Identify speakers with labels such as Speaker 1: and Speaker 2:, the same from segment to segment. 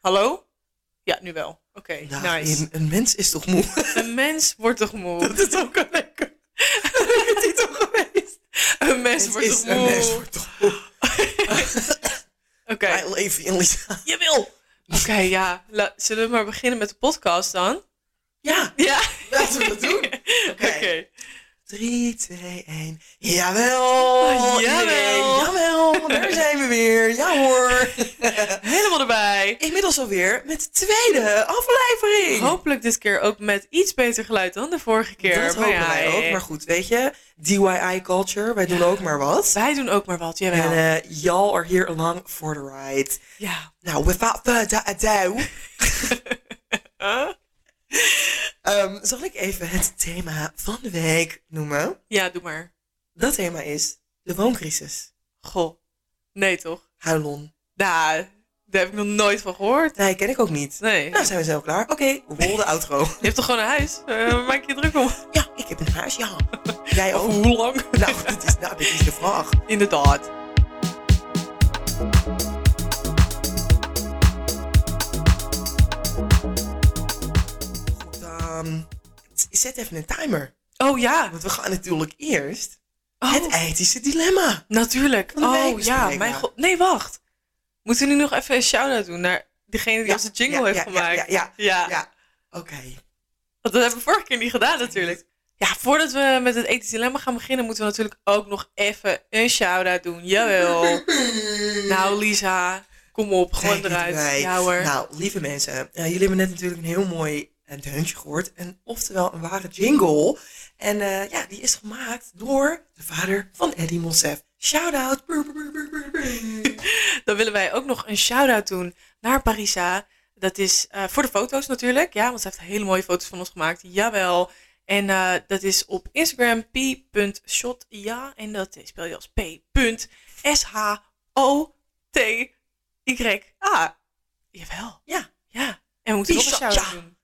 Speaker 1: Hallo? Ja, nu wel. Oké,
Speaker 2: Nou,
Speaker 1: nice.
Speaker 2: een, een mens is toch moe?
Speaker 1: Een mens wordt toch moe?
Speaker 2: Dat is ook een leuke een leuke titel geweest.
Speaker 1: Een mens wordt
Speaker 2: is
Speaker 1: toch
Speaker 2: een mens
Speaker 1: moe?
Speaker 2: wordt toch moe?
Speaker 1: Oké,
Speaker 2: Wij leven in Lisa.
Speaker 1: jawel. Oké, ja. La- zullen we maar beginnen met de podcast dan?
Speaker 2: Ja,
Speaker 1: Ja.
Speaker 2: laten we dat doen.
Speaker 1: Oké.
Speaker 2: 3, 2, 1. Jawel!
Speaker 1: Ah, jawel.
Speaker 2: iedereen. Jawel, daar zijn we weer. Ja hoor.
Speaker 1: Helemaal erbij.
Speaker 2: Inmiddels alweer met de tweede aflevering.
Speaker 1: Hopelijk dit keer ook met iets beter geluid dan de vorige keer.
Speaker 2: Dat
Speaker 1: Maar
Speaker 2: hopen
Speaker 1: ja,
Speaker 2: wij ook.
Speaker 1: eh,
Speaker 2: Maar goed, weet je, DIY culture, wij doen ook maar wat.
Speaker 1: Wij doen ook maar wat, jawel.
Speaker 2: En eh, y'all are here along for the ride.
Speaker 1: ja.
Speaker 2: Nou, without further ado,
Speaker 1: Huh?
Speaker 2: ehm, zal ik even het thema van de week noemen.
Speaker 1: Ja, doe maar.
Speaker 2: Dat thema is de wooncrisis.
Speaker 1: Goh. Nee, toch?
Speaker 2: Huilon.
Speaker 1: Nou, daar heb ik nog nooit van gehoord.
Speaker 2: Nee, ken ik ook niet.
Speaker 1: Nee.
Speaker 2: Nou, zijn we zo klaar. Oké, rol de outro.
Speaker 1: Je hebt toch gewoon een huis? Eh, maak je je druk om?
Speaker 2: Ja, ik heb een huis, ja. Jij
Speaker 1: Of
Speaker 2: ook?
Speaker 1: hoe lang?
Speaker 2: Nou, dit is, nou, dit is de vraag.
Speaker 1: Inderdaad.
Speaker 2: Goed, ehm, z- zet even een timer.
Speaker 1: Oh ja.
Speaker 2: Want we gaan natuurlijk eerst
Speaker 1: Oh,
Speaker 2: het ethische dilemma.
Speaker 1: natuurlijk.
Speaker 2: van de week
Speaker 1: Oh ja,
Speaker 2: bespreken.
Speaker 1: mijn god. Nee, wacht. Moeten we nu nog even een shout-out doen naar degene die
Speaker 2: Ja,
Speaker 1: onze jingle
Speaker 2: ja,
Speaker 1: heeft
Speaker 2: ja,
Speaker 1: gemaakt?
Speaker 2: Ja, ja,
Speaker 1: Ja.
Speaker 2: ja. ja. Oké.
Speaker 1: Want dat hebben we vorige keer niet gedaan natuurlijk. Ja, voordat we met het ethisch dilemma gaan beginnen, moeten we natuurlijk ook nog even een shout-out doen. Jawel. Nou, Lisa, kom op, gewoon
Speaker 2: Kijk niet
Speaker 1: eruit.
Speaker 2: erbij.
Speaker 1: Ja hoor.
Speaker 2: Nou, lieve mensen, eh, jullie hebben net natuurlijk een heel mooi eh, deuntje gehoord. En oftewel een ware jingle. En eh, ja, die is gemaakt door de vader van Eddie Monsef. Shout out.
Speaker 1: Dan willen wij ook nog een shout-out doen naar Parisa. Dat is eh, voor de foto's natuurlijk. Ja, want ze heeft hele mooie foto's van ons gemaakt. Jawel. En eh, dat is op Instagram p.shot. Ja, en dat is- spel je als p.s-h-o-t-y-a. Jawel.
Speaker 2: Ja.
Speaker 1: Ja. En we moeten nog een
Speaker 2: Parisa,
Speaker 1: shout-out
Speaker 2: ja.
Speaker 1: doen.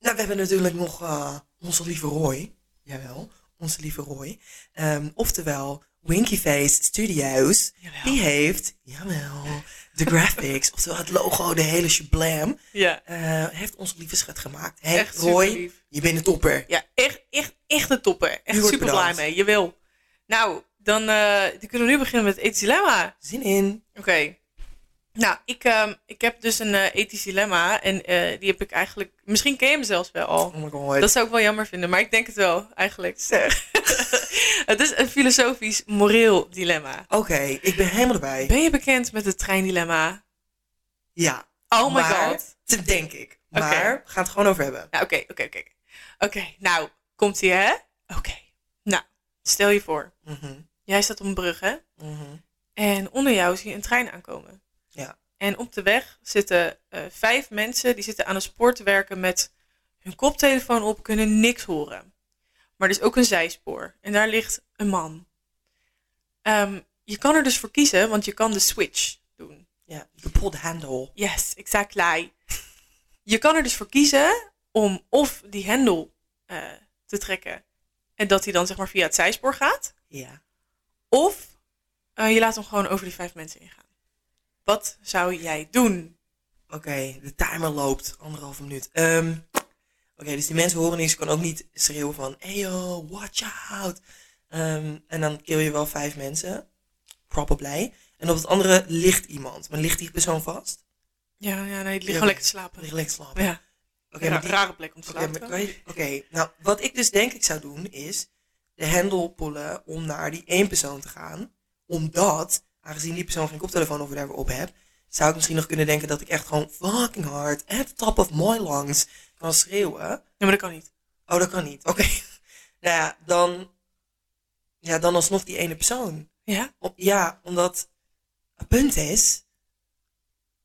Speaker 2: Nou, we hebben natuurlijk nog eh, onze lieve Roy. Jawel, onze lieve Roy. Ehm, oftewel, Winkyface Studios.
Speaker 1: Jawel.
Speaker 2: Die heeft, jawel, de graphics, oftewel het logo, de hele shablam,
Speaker 1: Ja.
Speaker 2: eh, heeft onze lieve schat gemaakt. Hey,
Speaker 1: Echt
Speaker 2: Roy,
Speaker 1: super lief.
Speaker 2: je bent een topper.
Speaker 1: Ja, echt, echt, echt een topper. Echt
Speaker 2: U wordt
Speaker 1: super blij
Speaker 2: bedankt.
Speaker 1: mee. Jawel. Nou, dan, eh, dan kunnen we nu beginnen met het ethisch dilemma.
Speaker 2: Zin in.
Speaker 1: Oké. Nou, ik, ehm, ik heb dus een eh, ethisch dilemma. En eh, die heb ik eigenlijk... Misschien ken je hem zelfs wel al.
Speaker 2: Oh my god.
Speaker 1: Dat zou ik wel jammer vinden, maar ik denk het wel, eigenlijk. het is een filosofisch, moreel dilemma.
Speaker 2: Oké, ik ben helemaal erbij.
Speaker 1: Ben je bekend met het treindilemma?
Speaker 2: Ja.
Speaker 1: Oh my
Speaker 2: maar,
Speaker 1: god.
Speaker 2: Dat denk ik.
Speaker 1: Oké.
Speaker 2: Maar we gaan het gewoon over hebben.
Speaker 1: Nou, oké, oké, oké. Oké, nou, komt ie, hè? Oké. Nou, stel je voor.
Speaker 2: Mhm,
Speaker 1: Jij staat op een brug, hè?
Speaker 2: mhm.
Speaker 1: En onder jou zie je een trein aankomen.
Speaker 2: Ja.
Speaker 1: En op de weg zitten eh, vijf mensen die zitten aan een spoor te werken met hun koptelefoon op, kunnen niks horen. Maar er is ook een zijspoor en daar ligt een man. Ehm, je kan er dus voor kiezen, want je kan de switch doen.
Speaker 2: Ja, you pull the handle.
Speaker 1: Yes, exactly. Je kan er dus voor kiezen om of die hendel eh, te trekken en dat hij dan zeg maar via het zijspoor gaat.
Speaker 2: Ja.
Speaker 1: Of eh, je laat hem gewoon over die vijf mensen ingaan. Wat zou jij doen?
Speaker 2: Oké, de timer loopt. Anderhalve minuut. Ehm, Oké, dus die mensen horen niks. Je kan ook niet schreeuwen van... Hey yo, watch out. Ehm, en dan kill je wel vijf mensen. Probably. En op het andere ligt iemand. Maar ligt die persoon vast?
Speaker 1: Ja, ja nee, het ligt
Speaker 2: Ja.
Speaker 1: gewoon lekker te slapen.
Speaker 2: Ligt lekker slapen.
Speaker 1: Ja,
Speaker 2: Oké,
Speaker 1: Ra-
Speaker 2: maar die-
Speaker 1: rare plek om te
Speaker 2: Oké,
Speaker 1: slapen.
Speaker 2: maar kan je- oké, nou, wat ik dus denk ik zou doen is de hendel pullen om naar die één persoon te gaan. Omdat, aangezien die persoon geen koptelefoon of whatever op heb, zou ik misschien nog kunnen denken dat ik echt gewoon fucking hard at the top of my lungs kan schreeuwen.
Speaker 1: Nee, maar dat kan niet.
Speaker 2: Oh, dat kan niet. Oké. nou ja, dan, ja, dan alsnog die ene persoon.
Speaker 1: Ja?
Speaker 2: Om- ja, omdat het punt is,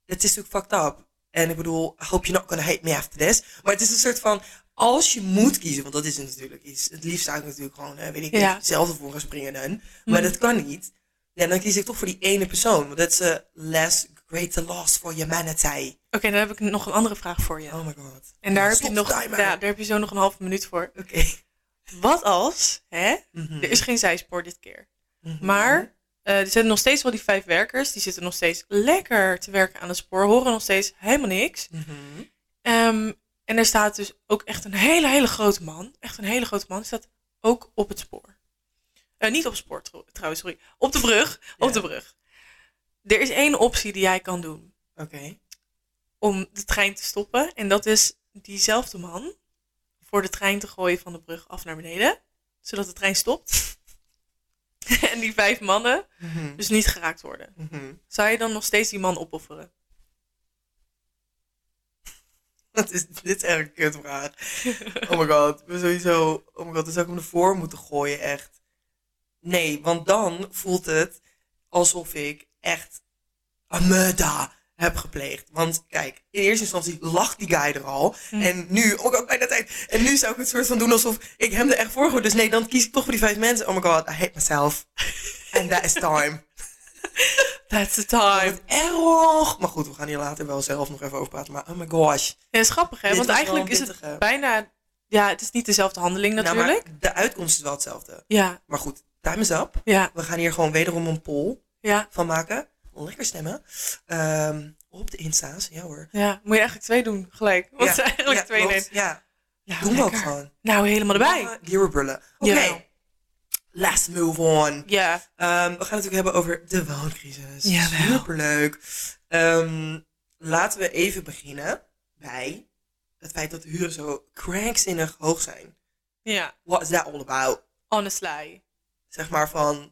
Speaker 2: het is natuurlijk fucked up. En ik bedoel, I hope you're not gonna hate me after this. Maar het is een soort van, als je moet kiezen, want dat is natuurlijk iets. Het liefst zou ik natuurlijk gewoon, eh, weet ik
Speaker 1: Ja. Mm.
Speaker 2: niet, zelf ervoor gaan springen dan. Maar dat kan niet. Ja, dan kies ik toch voor die ene persoon. Want dat is eh, less greater loss for humanity.
Speaker 1: Oké, dan heb ik nog een andere vraag voor je.
Speaker 2: Oh my god.
Speaker 1: en daar heb, je
Speaker 2: Stop
Speaker 1: nog,
Speaker 2: de
Speaker 1: ja,
Speaker 2: timer.
Speaker 1: daar heb je zo nog een half minuut voor.
Speaker 2: Oké.
Speaker 1: Wat als, hè?
Speaker 2: Mhm.
Speaker 1: Er is geen zijspoor dit keer.
Speaker 2: Mhm.
Speaker 1: Maar Eh, er zitten nog steeds wel die vijf werkers. Die zitten nog steeds lekker te werken aan het spoor. Horen nog steeds helemaal niks.
Speaker 2: Mhm.
Speaker 1: Ehm, en er staat dus ook echt een hele, hele grote man. Echt een hele grote man. Die staat ook op het spoor. Eh, niet op het spoor tro- trouwens, sorry. Op de brug.
Speaker 2: Ja.
Speaker 1: Op de brug. Er is één optie die jij kan doen
Speaker 2: Oké.
Speaker 1: om de trein te stoppen. En dat is diezelfde man voor de trein te gooien van de brug af naar beneden. Zodat de trein stopt. en die vijf mannen
Speaker 2: Mhm.
Speaker 1: dus niet geraakt worden.
Speaker 2: Mhm.
Speaker 1: Zou je dan nog steeds die man opofferen?
Speaker 2: Wat is dit is echt een kutvraag. Oh my god, we sowieso. Oh my god, dan zou ik hem ervoor moeten gooien, echt. Nee, want dan voelt het alsof ik echt een murder heb gepleegd. Want kijk, in eerste instantie lacht die guy er al.
Speaker 1: Hm.
Speaker 2: En nu, oh my god, bijna tijd. En nu zou ik het soort van doen alsof ik hem er echt voor gooi. Dus nee, dan kies ik toch voor die vijf mensen. Oh my god, I hate myself. And that is time.
Speaker 1: That's the time.
Speaker 2: Wat erg. Maar goed, we gaan hier later wel zelf nog even over praten. Maar oh my gosh.
Speaker 1: Ja, dat is grappig, hè?
Speaker 2: Dit
Speaker 1: Want
Speaker 2: was
Speaker 1: eigenlijk
Speaker 2: wel
Speaker 1: is
Speaker 2: een
Speaker 1: het
Speaker 2: pittige.
Speaker 1: bijna... Ja, het is niet dezelfde handeling
Speaker 2: Nou,
Speaker 1: natuurlijk.
Speaker 2: maar de uitkomst is wel hetzelfde.
Speaker 1: Ja,
Speaker 2: Maar goed, time is up.
Speaker 1: ja,
Speaker 2: We gaan hier gewoon wederom een poll
Speaker 1: ja,
Speaker 2: van maken. Lekker stemmen. Ehm, op de Insta's, ja hoor.
Speaker 1: ja. Moet je eigenlijk twee doen, gelijk. Want
Speaker 2: Ja,
Speaker 1: het zijn eigenlijk
Speaker 2: ja,
Speaker 1: twee in
Speaker 2: klopt.
Speaker 1: één.
Speaker 2: Ja,
Speaker 1: Nou,
Speaker 2: doen we ook
Speaker 1: lekker.
Speaker 2: gewoon.
Speaker 1: Nou, helemaal erbij.
Speaker 2: Ja, Hier brullen. Oké,
Speaker 1: Jawel.
Speaker 2: let's move on.
Speaker 1: Ja.
Speaker 2: Ehm, we gaan het natuurlijk hebben over de wooncrisis.
Speaker 1: Jawel.
Speaker 2: Superleuk. Ehm, laten we even beginnen bij het feit dat de huren zo krankzinnig hoog zijn.
Speaker 1: Ja,
Speaker 2: What is that all about?
Speaker 1: honestly.
Speaker 2: zeg maar van.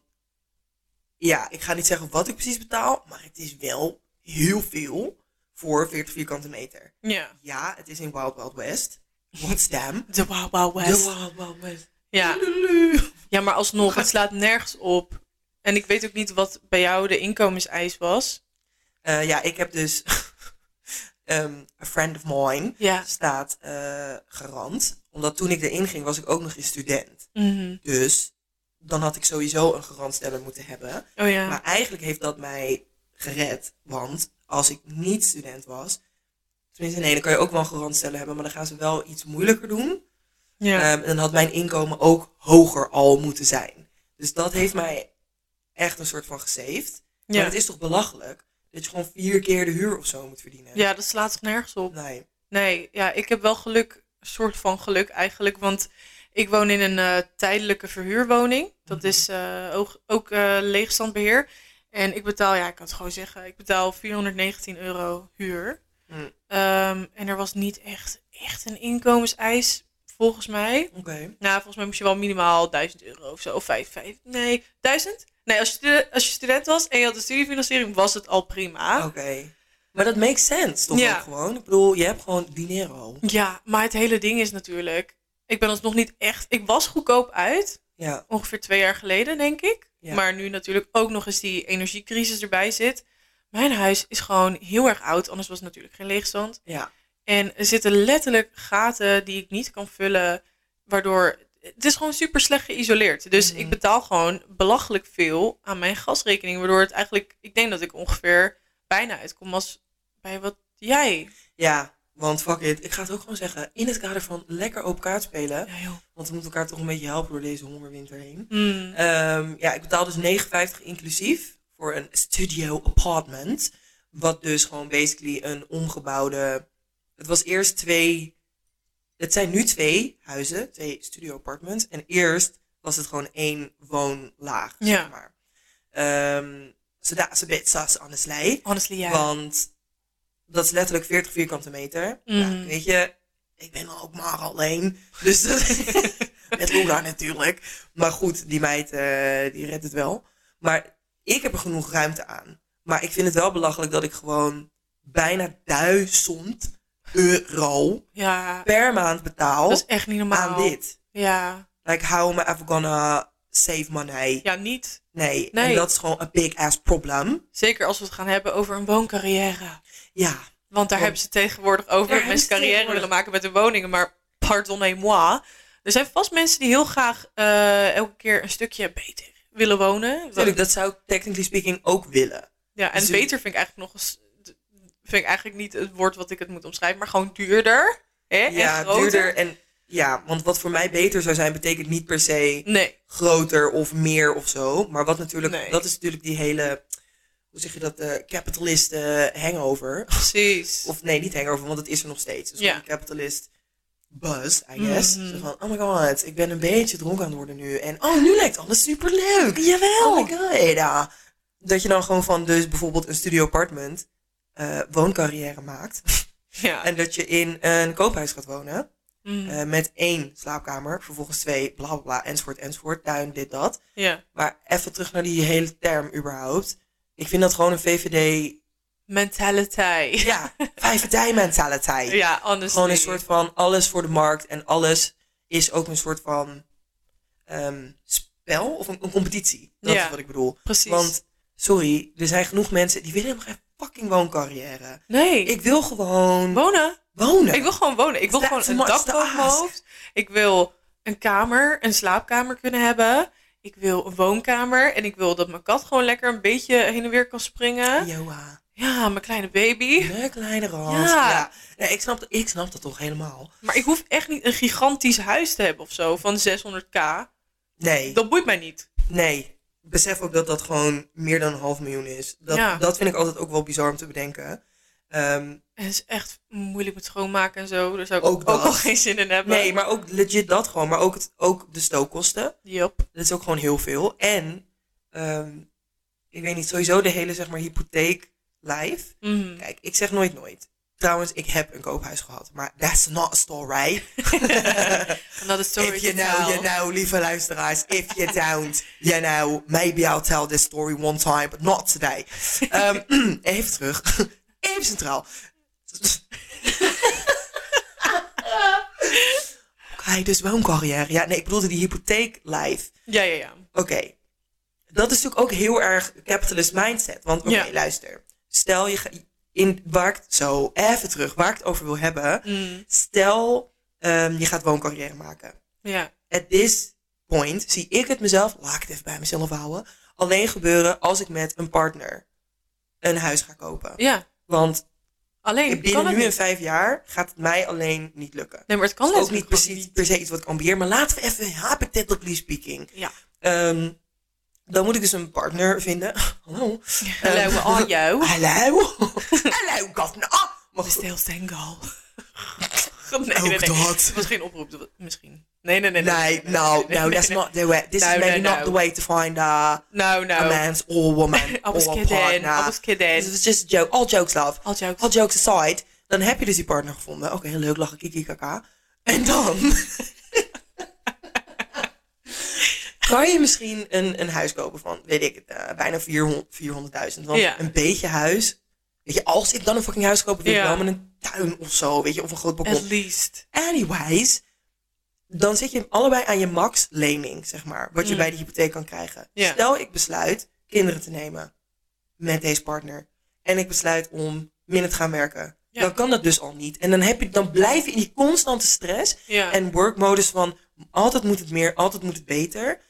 Speaker 2: Ja, ik ga niet zeggen wat ik precies betaal, maar het is wel heel veel voor 40 vierkante meter.
Speaker 1: Ja.
Speaker 2: Ja, het is in Wild Wild West. What's them?
Speaker 1: De Wow Wow West.
Speaker 2: The Wild Wild West.
Speaker 1: Ja.
Speaker 2: Lulu.
Speaker 1: ja, maar alsnog, het slaat nergens op. En ik weet ook niet wat bij jou de inkomenseis was.
Speaker 2: Eh, ja, ik heb dus. ehm a friend of mine
Speaker 1: Ja.
Speaker 2: staat eh, garant. Omdat toen ik erin ging, was ik ook nog een student.
Speaker 1: Mhm.
Speaker 2: Dus dan had ik sowieso een garantsteller moeten hebben.
Speaker 1: Oh ja.
Speaker 2: Maar eigenlijk heeft dat mij gered. Want als ik niet student was. Tenminste, nee, dan kan je ook wel een garantstellen hebben. Maar dan gaan ze wel iets moeilijker doen.
Speaker 1: Ja.
Speaker 2: Ehm, en dan had mijn inkomen ook hoger al moeten zijn. Dus dat heeft mij echt een soort van gesaved. Maar
Speaker 1: Ja.
Speaker 2: het is toch belachelijk dat je gewoon vier keer de huur of zo moet verdienen?
Speaker 1: ja, dat slaat toch nergens op.
Speaker 2: Nee.
Speaker 1: Nee, ja, ik heb wel geluk, een soort van geluk eigenlijk. Want ik woon in een eh, tijdelijke verhuurwoning. Dat
Speaker 2: Mhm.
Speaker 1: is eh, ook, ook eh, leegstandbeheer. En ik betaal, ja, ik kan het gewoon zeggen, ik betaal 419 euro huur.
Speaker 2: Mm.
Speaker 1: Ehm, en er was niet echt, echt een inkomenseis, volgens mij.
Speaker 2: Oké.
Speaker 1: Nou, volgens mij moest je wel minimaal 1000 euro of zo. Of 5, 5, nee, 1000? Nee, als je, stu- als je student was en je had een studiefinanciering, was het al prima.
Speaker 2: Oké. Ah. Maar dat makes sense toch
Speaker 1: Ja.
Speaker 2: ook gewoon? Ik bedoel, je hebt gewoon dinero.
Speaker 1: Ja, maar het hele ding is natuurlijk. Ik ben alsnog niet echt. Ik was goedkoop uit.
Speaker 2: Ja.
Speaker 1: Ongeveer twee jaar geleden, denk ik.
Speaker 2: Ja.
Speaker 1: Maar nu natuurlijk ook nog eens die energiecrisis erbij zit. Mijn huis is gewoon heel erg oud. Anders was het natuurlijk geen leegstand.
Speaker 2: Ja.
Speaker 1: En er zitten letterlijk gaten die ik niet kan vullen. Waardoor. Het is gewoon super slecht geïsoleerd. Dus
Speaker 2: Mhm.
Speaker 1: ik betaal gewoon belachelijk veel aan mijn gasrekening. Waardoor het eigenlijk. Ik denk dat ik ongeveer bijna uitkom als bij wat jij.
Speaker 2: Ja. Want fuck it, ik ga het ook gewoon zeggen. In het kader van lekker open kaart spelen.
Speaker 1: Ja, joh.
Speaker 2: Want we moeten elkaar toch een beetje helpen door deze hongerwinter heen.
Speaker 1: Mm.
Speaker 2: Ehm, ja, ik betaal dus 9,50 inclusief voor een studio apartment. Wat dus gewoon basically een omgebouwde... Het was eerst twee... Het zijn nu twee huizen, twee studio apartments. En eerst was het gewoon één woonlaag,
Speaker 1: Ja.
Speaker 2: zeg maar. Ehm, so that's a bit sus, honestly.
Speaker 1: Honestly, ja.
Speaker 2: Want dat is letterlijk 40 vierkante meter.
Speaker 1: Mhm.
Speaker 2: Ja, weet je, ik ben dan ook maar alleen. Dus dat, met Luna natuurlijk. Maar goed, die meid eh, die redt het wel. Maar ik heb er genoeg ruimte aan. Maar ik vind het wel belachelijk dat ik gewoon bijna duizend euro
Speaker 1: Ja,
Speaker 2: per maand betaal
Speaker 1: dat is echt niet normaal.
Speaker 2: aan dit.
Speaker 1: Ja.
Speaker 2: Like, how am I ever gonna save money?
Speaker 1: ja, niet.
Speaker 2: Nee.
Speaker 1: Nee.
Speaker 2: en dat is gewoon een big ass problem.
Speaker 1: Zeker als we het gaan hebben over een wooncarrière.
Speaker 2: Ja,
Speaker 1: Want daar
Speaker 2: Oh.
Speaker 1: hebben ze het tegenwoordig over.
Speaker 2: Daar
Speaker 1: dat mensen
Speaker 2: hebben ze het
Speaker 1: carrière
Speaker 2: tegenwoordig.
Speaker 1: willen maken met hun woningen. Maar pardonnez-moi. Er zijn vast mensen die heel graag eh, elke keer een stukje beter willen wonen.
Speaker 2: natuurlijk, dat zou ik technically speaking ook willen.
Speaker 1: Ja, en
Speaker 2: Zo-
Speaker 1: beter vind ik eigenlijk nog eens... Vind ik eigenlijk niet het woord wat ik het moet omschrijven. Maar gewoon duurder. Hè? en
Speaker 2: ja,
Speaker 1: groter.
Speaker 2: duurder en Ja, want wat voor mij beter zou zijn, betekent niet per se
Speaker 1: Nee,
Speaker 2: groter of meer of zo. Maar wat natuurlijk,
Speaker 1: Nee.
Speaker 2: dat is natuurlijk die hele, hoe zeg je dat, eh capitalist eh, hangover.
Speaker 1: precies.
Speaker 2: Of nee, niet hangover, want het is er nog steeds. Dus
Speaker 1: Ja.
Speaker 2: een capitalist buzz, I guess.
Speaker 1: Mhm.
Speaker 2: Zo van, oh my god, ik ben een beetje dronken aan het worden nu. En oh, nu lijkt alles superleuk.
Speaker 1: Jawel.
Speaker 2: Oh my god. ja. Dat je dan gewoon van dus bijvoorbeeld een studio apartment eh, wooncarrière maakt.
Speaker 1: ja.
Speaker 2: En dat je in een koophuis gaat wonen.
Speaker 1: Mhm.
Speaker 2: eh, met één slaapkamer, vervolgens twee, bla bla bla, enzovoort, enzovoort, tuin, dit, dat.
Speaker 1: ja.
Speaker 2: Maar even terug naar die hele term überhaupt. Ik vind dat gewoon een VVD,
Speaker 1: Mentality.
Speaker 2: ja, VVD-mentaliteit.
Speaker 1: Ja, honestly.
Speaker 2: Gewoon een soort van alles voor de markt en alles is ook een soort van ehm, spel of een, een competitie. Dat
Speaker 1: Ja.
Speaker 2: is wat ik bedoel.
Speaker 1: Precies.
Speaker 2: Want, sorry, er zijn genoeg mensen die willen helemaal geen fucking wooncarrière.
Speaker 1: nee,
Speaker 2: Ik wil gewoon
Speaker 1: wonen.
Speaker 2: wonen.
Speaker 1: Ik wil gewoon wonen. Ik wil
Speaker 2: That's
Speaker 1: gewoon een dak
Speaker 2: much to
Speaker 1: boven mijn
Speaker 2: ask.
Speaker 1: hoofd. Ik wil een kamer, een slaapkamer kunnen hebben. Ik wil een woonkamer. En ik wil dat mijn kat gewoon lekker een beetje heen en weer kan springen.
Speaker 2: Joa.
Speaker 1: Ja, mijn kleine baby.
Speaker 2: Een kleine rand.
Speaker 1: Ja.
Speaker 2: Ja. Nee, ik, snap, dat- ik snap dat toch helemaal.
Speaker 1: Maar ik hoef echt niet een gigantisch huis te hebben of zo van 600k.
Speaker 2: Nee,
Speaker 1: Dat boeit mij niet.
Speaker 2: nee. Besef ook dat dat gewoon meer dan een half miljoen is. Dat,
Speaker 1: Ja.
Speaker 2: dat vind ik altijd ook wel bizar om te bedenken. Ehm,
Speaker 1: En het is echt moeilijk met schoonmaken en zo. Daar zou ik
Speaker 2: Ook
Speaker 1: ook,
Speaker 2: dat.
Speaker 1: al geen zin in hebben.
Speaker 2: nee, maar ook legit dat gewoon. Maar ook, het, ook de stookkosten.
Speaker 1: Yup.
Speaker 2: Dat is ook gewoon heel veel. En, ehm, ik weet niet, sowieso de hele zeg maar hypotheek life.
Speaker 1: Mhm.
Speaker 2: Kijk, ik zeg nooit nooit. Trouwens, ik heb een koophuis gehad. Maar that's not a story.
Speaker 1: En dat is story
Speaker 2: If you
Speaker 1: to
Speaker 2: know,
Speaker 1: tell.
Speaker 2: you know, lieve luisteraars. If you don't, you know, maybe I'll tell this story one time, but not today. Ehm, even terug. Even centraal. Oké, dus wooncarrière. Ja, nee, ik bedoelde die hypotheeklijf.
Speaker 1: Ja, ja, ja.
Speaker 2: Oké. Dat is natuurlijk ook heel erg capitalist mindset. Want oké,
Speaker 1: Ja.
Speaker 2: luister. Stel je... ga- In, waar ik, het- zo, even terug. Waar ik het over wil hebben.
Speaker 1: Mm.
Speaker 2: Stel, ehm, je gaat wooncarrière maken
Speaker 1: Ja,
Speaker 2: at this point zie ik het mezelf, laat ik het even bij mezelf houden, alleen gebeuren als ik met een partner een huis ga kopen.
Speaker 1: ja.
Speaker 2: Want
Speaker 1: Alleen kan
Speaker 2: binnen
Speaker 1: het
Speaker 2: nu en
Speaker 1: niet.
Speaker 2: vijf jaar gaat het mij alleen niet lukken.
Speaker 1: Nee, maar het kan
Speaker 2: Dat is ook
Speaker 1: letterlijk
Speaker 2: niet
Speaker 1: gewoon
Speaker 2: precies, per se iets wat ik ambieer, maar laten we even hypothetically speaking.
Speaker 1: Ja.
Speaker 2: Ehm, dan moet ik dus een partner vinden. Hallo.
Speaker 1: Hello,
Speaker 2: Ehm,
Speaker 1: are you?
Speaker 2: Hallo. Hallo, Oh, Katna. Maar goed,
Speaker 1: Still single. nee,
Speaker 2: Ook
Speaker 1: nee, nee.
Speaker 2: dat.
Speaker 1: Het was geen oproep. dat was- Misschien. Nee, nee, nee.
Speaker 2: nee, no, no, that's not the way. This
Speaker 1: No,
Speaker 2: is maybe
Speaker 1: no,
Speaker 2: not
Speaker 1: no.
Speaker 2: the way to find uh,
Speaker 1: Nou,
Speaker 2: a
Speaker 1: nou.
Speaker 2: man's or woman
Speaker 1: I was
Speaker 2: or a
Speaker 1: kidding. I
Speaker 2: partner.
Speaker 1: was
Speaker 2: This
Speaker 1: kidding.
Speaker 2: was just a joke. All jokes, love.
Speaker 1: All jokes.
Speaker 2: All jokes aside. Dan heb je dus die partner gevonden. Oké, heel leuk, lachen, kiki, kaka. En dan... kan je misschien een, een huis kopen van, weet ik het, eh, bijna 400 400.000. Want
Speaker 1: Ja.
Speaker 2: een beetje huis... Weet je, als ik dan een fucking huis koop, wil
Speaker 1: Ja.
Speaker 2: ik wel met een tuin of zo, weet je, of een groot
Speaker 1: At
Speaker 2: balkon.
Speaker 1: least.
Speaker 2: Anyways, dan zit je allebei aan je max lening, zeg maar. Wat je
Speaker 1: Mm.
Speaker 2: bij de hypotheek kan krijgen.
Speaker 1: Ja.
Speaker 2: Stel, ik besluit kinderen te nemen met deze partner. En ik besluit om minder te gaan werken.
Speaker 1: Ja.
Speaker 2: Dan kan dat dus al niet. En dan, heb je, dan blijf je in die constante stress
Speaker 1: Ja.
Speaker 2: en workmodus van altijd moet het meer, altijd moet het beter.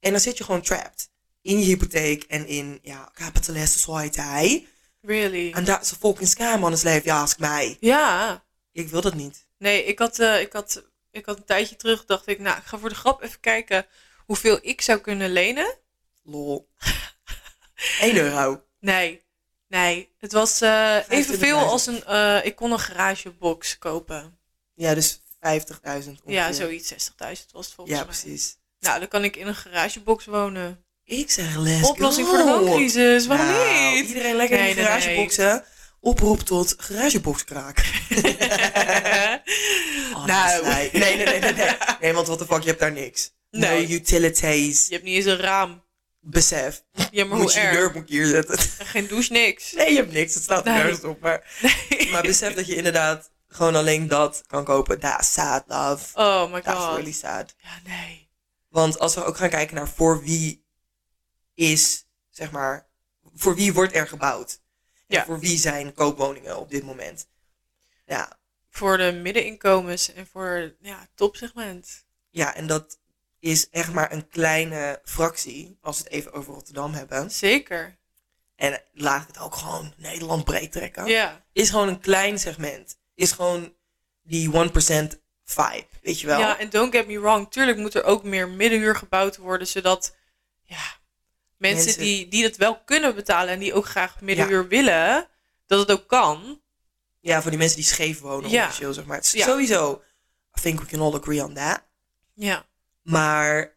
Speaker 2: En dan zit je gewoon trapped in je hypotheek en in ja, capitalist society.
Speaker 1: Really.
Speaker 2: En dat is een fucking scam, anders leef je ask mij.
Speaker 1: Ja.
Speaker 2: Ik wil dat niet.
Speaker 1: Nee, ik had, eh, ik, had, ik had een tijdje terug, dacht ik, nou, ik ga voor de grap even kijken hoeveel ik zou kunnen lenen.
Speaker 2: Lol. 1 euro.
Speaker 1: Nee, nee. Het was eh, evenveel
Speaker 2: 25.000.
Speaker 1: als een, eh, ik kon een garagebox kopen.
Speaker 2: Ja, dus 50.000 ongeveer.
Speaker 1: Ja, zoiets, 60.000 was het volgens
Speaker 2: Ja,
Speaker 1: mij.
Speaker 2: precies.
Speaker 1: Nou, dan kan ik in een garagebox wonen.
Speaker 2: Ik zeg les.
Speaker 1: Oplossing voor de wooncrisis, waarom
Speaker 2: Nou,
Speaker 1: niet?
Speaker 2: Iedereen lekker
Speaker 1: Nee,
Speaker 2: in
Speaker 1: nee,
Speaker 2: garageboxen. Oproep tot garageboxkraak. Oh,
Speaker 1: nou,
Speaker 2: Nee, nee, nee, nee, nee, nee. Nee, want wat de fuck, je hebt daar niks.
Speaker 1: Nee.
Speaker 2: No utilities.
Speaker 1: je hebt niet eens een raam.
Speaker 2: Besef.
Speaker 1: Ja, maar
Speaker 2: moet
Speaker 1: hoe
Speaker 2: je je
Speaker 1: erg?
Speaker 2: deur moet ik hier zetten.
Speaker 1: Geen douche, niks.
Speaker 2: Nee, je hebt niks. Het staat er
Speaker 1: Nee.
Speaker 2: nergens op. Maar, maar besef dat je inderdaad gewoon alleen dat kan kopen. That's sad, love.
Speaker 1: Oh my
Speaker 2: That's
Speaker 1: god.
Speaker 2: really sad.
Speaker 1: Ja, nee.
Speaker 2: Want als we ook gaan kijken naar voor wie is, zeg maar, voor wie wordt er gebouwd? En
Speaker 1: Ja.
Speaker 2: Voor wie zijn koopwoningen op dit moment? Ja,
Speaker 1: Voor de middeninkomens en voor ja, het topsegment.
Speaker 2: ja, en dat is echt maar een kleine fractie, als we het even over Rotterdam hebben.
Speaker 1: Zeker.
Speaker 2: En laat ik het ook gewoon Nederland breed trekken.
Speaker 1: Ja.
Speaker 2: Is gewoon een klein segment. Is gewoon die 1% vibe, weet je wel?
Speaker 1: Ja, en don't get me wrong, tuurlijk moet er ook meer middenhuur gebouwd worden, zodat ja, mensen,
Speaker 2: Mensen-
Speaker 1: Die, die dat wel kunnen betalen en die ook graag middenhuur willen, dat het ook kan.
Speaker 2: Ja, voor die mensen die scheef wonen
Speaker 1: Ja.
Speaker 2: officieel, zeg maar. Het is
Speaker 1: Ja.
Speaker 2: Sowieso, I think we can all agree on that.
Speaker 1: Ja,
Speaker 2: Maar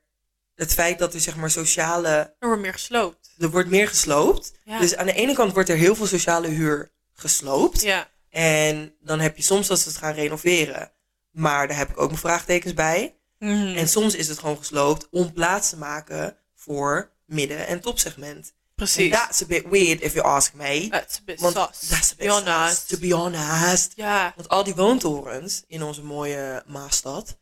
Speaker 2: het feit dat er zeg maar sociale...
Speaker 1: er wordt meer gesloopt.
Speaker 2: Er wordt meer gesloopt.
Speaker 1: Ja.
Speaker 2: Dus aan de ene kant wordt er heel veel sociale huur gesloopt.
Speaker 1: Ja,
Speaker 2: En dan heb je soms dat ze het gaan renoveren. Maar daar heb ik ook mijn vraagtekens bij.
Speaker 1: Mhm.
Speaker 2: En soms is het gewoon gesloopt om plaats te maken voor midden- en topsegment.
Speaker 1: precies.
Speaker 2: En That's a bit weird if you ask me.
Speaker 1: That's a bit
Speaker 2: Want
Speaker 1: sus.
Speaker 2: that's a bit
Speaker 1: Be
Speaker 2: sus,
Speaker 1: honest.
Speaker 2: To be honest.
Speaker 1: Ja,
Speaker 2: Want al die woontorens in onze mooie Maastad,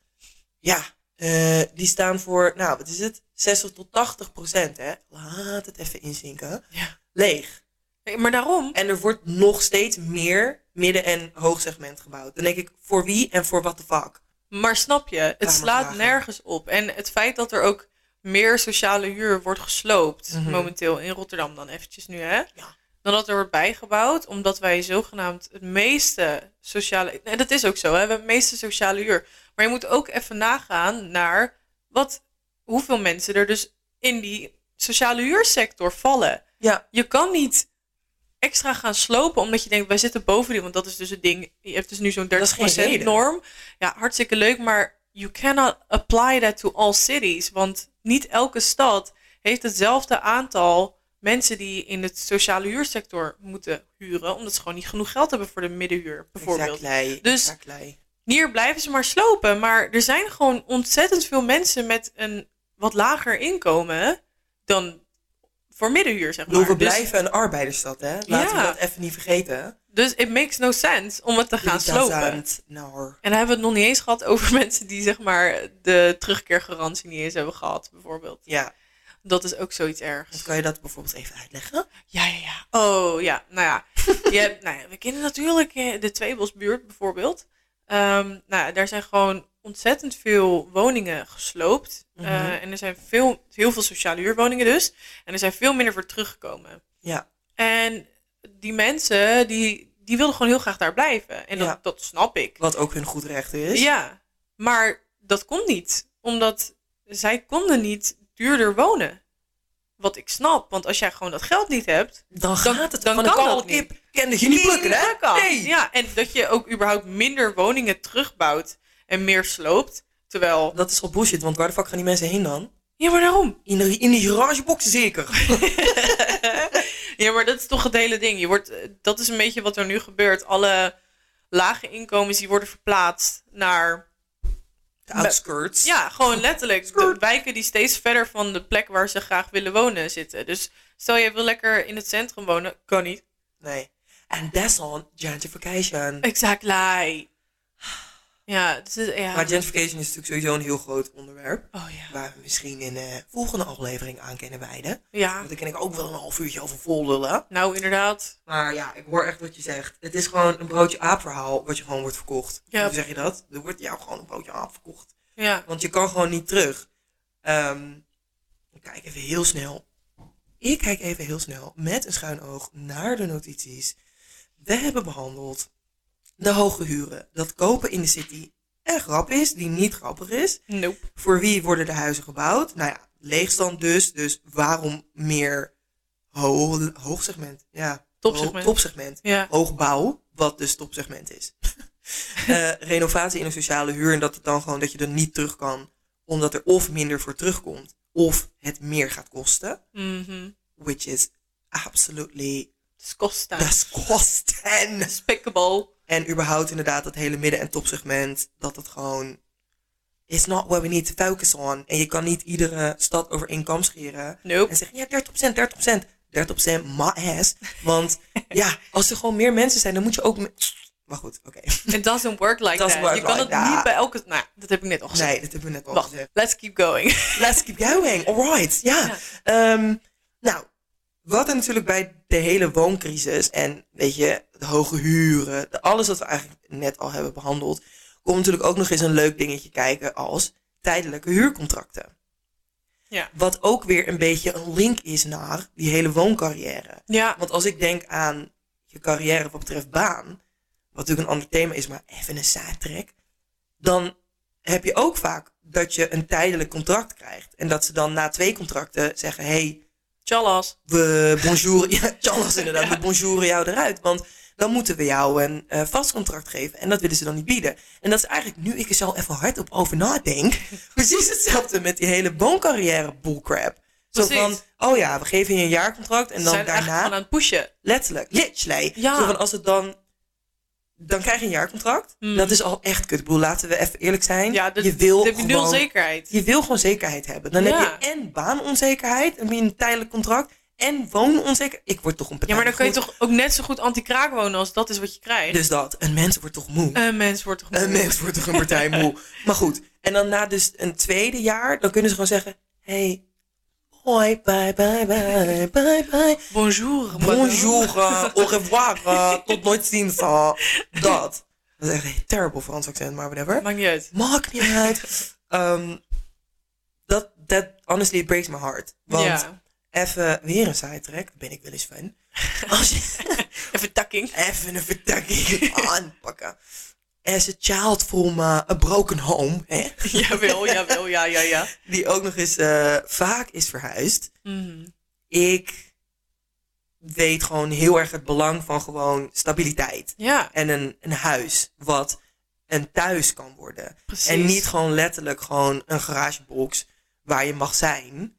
Speaker 2: ja, eh, die staan voor, nou, wat is het? 60 tot 80 procent, hè? Laat het even inzinken.
Speaker 1: Ja.
Speaker 2: Leeg.
Speaker 1: Hey, maar daarom.
Speaker 2: En er wordt nog steeds meer midden- en hoogsegment gebouwd. Dan denk ik, voor wie en voor what the fuck?
Speaker 1: Maar snap je, het
Speaker 2: maar
Speaker 1: slaat
Speaker 2: vragen.
Speaker 1: nergens op. En het feit dat er ook meer sociale huur wordt gesloopt,
Speaker 2: Mhm.
Speaker 1: momenteel in Rotterdam dan eventjes nu, hè?
Speaker 2: Ja.
Speaker 1: Dan dat er wordt bijgebouwd, omdat wij zogenaamd het meeste sociale... En dat is ook zo, hè? We hebben het meeste sociale huur. Maar je moet ook even nagaan naar wat, hoeveel mensen er dus in die sociale huursector vallen.
Speaker 2: Ja.
Speaker 1: Je kan niet extra gaan slopen omdat je denkt, wij zitten boven die. Want dat is dus het ding. Je hebt dus nu zo'n
Speaker 2: is geen
Speaker 1: 30%
Speaker 2: reden.
Speaker 1: norm. Ja, hartstikke leuk. Maar you cannot apply that to all cities. Want niet elke stad heeft hetzelfde aantal mensen die in het sociale huursector moeten huren. Omdat ze gewoon niet genoeg geld hebben voor de middenhuur, bijvoorbeeld.
Speaker 2: Exactly.
Speaker 1: Dus-
Speaker 2: Exactly.
Speaker 1: Hier blijven ze maar slopen. Maar er zijn gewoon ontzettend veel mensen met een wat lager inkomen dan voor middenhuur, zeg
Speaker 2: Ik bedoel,
Speaker 1: maar.
Speaker 2: we
Speaker 1: Dus-
Speaker 2: blijven een arbeidersstad, hè? Laten
Speaker 1: Ja.
Speaker 2: we dat even niet vergeten.
Speaker 1: Dus it makes no sense om het te gaan slopen.
Speaker 2: 2000, Nou,
Speaker 1: En dan hebben we het nog niet eens gehad over mensen die zeg maar de terugkeergarantie niet eens hebben gehad, bijvoorbeeld.
Speaker 2: ja.
Speaker 1: Dat is ook zoiets
Speaker 2: Dus
Speaker 1: ergs.
Speaker 2: kan je dat bijvoorbeeld even uitleggen?
Speaker 1: Ja, ja, ja. Oh, ja. Nou ja. Je hebt, nou ja we kennen natuurlijk eh, de Tweebosbuurt bijvoorbeeld. Ehm, nou ja, daar zijn gewoon ontzettend veel woningen gesloopt.
Speaker 2: Mhm.
Speaker 1: Eh, en er zijn veel, heel veel sociale huurwoningen dus. En er zijn veel minder voor teruggekomen.
Speaker 2: Ja.
Speaker 1: En die mensen, die, die wilden gewoon heel graag daar blijven. En dat,
Speaker 2: Ja.
Speaker 1: dat snap ik.
Speaker 2: Wat ook hun goed recht is.
Speaker 1: Ja, maar dat kon niet. Omdat zij konden niet duurder wonen. Wat ik snap, want als jij gewoon dat geld niet hebt...
Speaker 2: Dan
Speaker 1: Dan-
Speaker 2: gaat het
Speaker 1: dan
Speaker 2: van
Speaker 1: kan
Speaker 2: een koude
Speaker 1: dat niet.
Speaker 2: kip. Kende je niet plukken, hè?
Speaker 1: Pluk al.
Speaker 2: Nee.
Speaker 1: Ja, en dat je ook überhaupt minder woningen terugbouwt en meer sloopt. Terwijl...
Speaker 2: Dat is al bullshit, want waar de fuck gaan die mensen heen dan?
Speaker 1: Ja, maar daarom.
Speaker 2: In, de, in die garageboxen zeker.
Speaker 1: Ja, maar dat is toch het hele ding. Je wordt, eh, dat is een beetje wat er nu gebeurt. Alle lage inkomens die worden verplaatst naar
Speaker 2: De outskirts.
Speaker 1: Ja, gewoon letterlijk. De
Speaker 2: Skirt.
Speaker 1: wijken die steeds verder van de plek waar ze graag willen wonen zitten. Dus stel je wil lekker in het centrum wonen, kan niet.
Speaker 2: Nee. And that's on gentrification.
Speaker 1: Exactly. Ja, dus, het- ja.
Speaker 2: Maar gentrification is natuurlijk sowieso een heel groot onderwerp.
Speaker 1: Oh ja.
Speaker 2: Waar we misschien in de volgende aflevering aan kunnen wijden.
Speaker 1: Ja,
Speaker 2: Want daar kan ik ook wel een half uurtje over vol lullen.
Speaker 1: nou inderdaad.
Speaker 2: Maar ja, ik hoor echt wat je zegt. Het is gewoon een broodje aap verhaal wat je gewoon wordt verkocht.
Speaker 1: Ja.
Speaker 2: Hoe zeg je dat? Er wordt jou gewoon een broodje aap verkocht.
Speaker 1: Ja.
Speaker 2: Want je kan gewoon niet terug. Ehm, ik kijk even heel snel. Ik kijk even heel snel met een schuin oog naar de notities. We hebben behandeld de hoge huren. Dat kopen in de city een grap is die niet grappig is.
Speaker 1: Nope.
Speaker 2: Voor wie worden de huizen gebouwd? Nou ja, leegstand dus. Dus waarom meer ho hoogsegment? Ja,
Speaker 1: Topsegment.
Speaker 2: ho- topsegment
Speaker 1: Ja.
Speaker 2: hoogbouw, wat dus topsegment is. Eh, renovatie in een sociale huur en dat het dan gewoon dat je er niet terug kan, omdat er of minder voor terugkomt, of het meer gaat kosten,
Speaker 1: Mhm.
Speaker 2: which is absolutely
Speaker 1: Het is Costa.
Speaker 2: kosten.
Speaker 1: Despicable.
Speaker 2: En überhaupt inderdaad dat hele midden- en topsegment, dat het gewoon is not what we need to focus on. En je kan niet iedere stad over één kam scheren
Speaker 1: Nope.
Speaker 2: en zeggen, ja, 30%, 30%. 30% my ass. Want ja, als er gewoon meer mensen zijn, dan moet je ook... me- Maar goed, oké.
Speaker 1: It doesn't work like
Speaker 2: Doesn't
Speaker 1: that.
Speaker 2: work
Speaker 1: je kan
Speaker 2: like
Speaker 1: het
Speaker 2: that.
Speaker 1: niet bij elke... Nou, dat heb ik net al gezegd.
Speaker 2: Nee, dat hebben we net al
Speaker 1: Wacht,
Speaker 2: gezegd.
Speaker 1: let's keep going.
Speaker 2: Let's keep going. Alright, ja. Ehm, nou, wat er natuurlijk bij de hele wooncrisis en weet je, de hoge huren, de, alles wat we eigenlijk net al hebben behandeld, komt natuurlijk ook nog eens een leuk dingetje kijken als tijdelijke huurcontracten.
Speaker 1: Ja.
Speaker 2: Wat ook weer een beetje een link is naar die hele wooncarrière.
Speaker 1: Ja.
Speaker 2: Want als ik denk aan je carrière wat betreft baan, wat natuurlijk een ander thema is, maar even een sidetrack, dan heb je ook vaak dat je een tijdelijk contract krijgt. En dat ze dan na twee contracten zeggen, hey,
Speaker 1: Tjallas.
Speaker 2: we bonjour, ja, Charles inderdaad, we bonjouren jou eruit. Want dan moeten we jou een eh, vast contract geven. En dat willen ze dan niet bieden. En dat is eigenlijk, nu ik er zo even hard op over nadenk, precies hetzelfde met die hele boomcarrière bullcrap. Zo
Speaker 1: Precies.
Speaker 2: van, oh ja, we geven je een jaarcontract en
Speaker 1: Ze
Speaker 2: dan
Speaker 1: zijn er
Speaker 2: daarna...
Speaker 1: eigenlijk gewoon aan het pushen.
Speaker 2: Letterlijk, literally.
Speaker 1: Ja.
Speaker 2: Zo van als het dan... Dan krijg je een jaarcontract.
Speaker 1: Hmm.
Speaker 2: Dat is al echt kut. Ik bedoel, laten we even eerlijk zijn.
Speaker 1: Ja, dat,
Speaker 2: je wil
Speaker 1: dat heb je nul
Speaker 2: gewoon-
Speaker 1: zekerheid.
Speaker 2: je wil gewoon zekerheid hebben. Dan
Speaker 1: Ja.
Speaker 2: heb je en baanonzekerheid, dan heb je een tijdelijk contract, en woononzekerheid. Ik word toch een
Speaker 1: Ja, maar dan kun je toch ook net zo goed anti-kraak wonen als dat is wat je krijgt.
Speaker 2: Dus dat, een mens wordt toch moe.
Speaker 1: Een mens wordt toch
Speaker 2: Een mens wordt toch een partij moe. Maar goed, en dan na dus een tweede jaar, dan kunnen ze gewoon zeggen... Hey, hoi, bye, bye, bye, bye, bye.
Speaker 1: Bonjour. madame.
Speaker 2: Bonjour, eh, au revoir, eh, tot nooit ziens. eh. dat. Dat is echt een terrible Frans accent, maar whatever.
Speaker 1: Maakt niet uit.
Speaker 2: Maakt niet uit. Ehm, Dat, dat, honestly, it breaks my heart. Want
Speaker 1: Ja.
Speaker 2: even weer een sidetrack, ben ik wel eens fan. Als je
Speaker 1: Even takking.
Speaker 2: even een vertakking aanpakken. As a child from eh, a broken home, hè,
Speaker 1: jawel, jawel, ja, ja, ja.
Speaker 2: die ook nog eens eh, vaak is verhuisd.
Speaker 1: Mhm.
Speaker 2: Ik weet gewoon heel erg het belang van gewoon stabiliteit.
Speaker 1: Ja,
Speaker 2: En een, een huis wat een thuis kan worden.
Speaker 1: precies.
Speaker 2: En niet gewoon letterlijk gewoon een garagebox waar je mag zijn.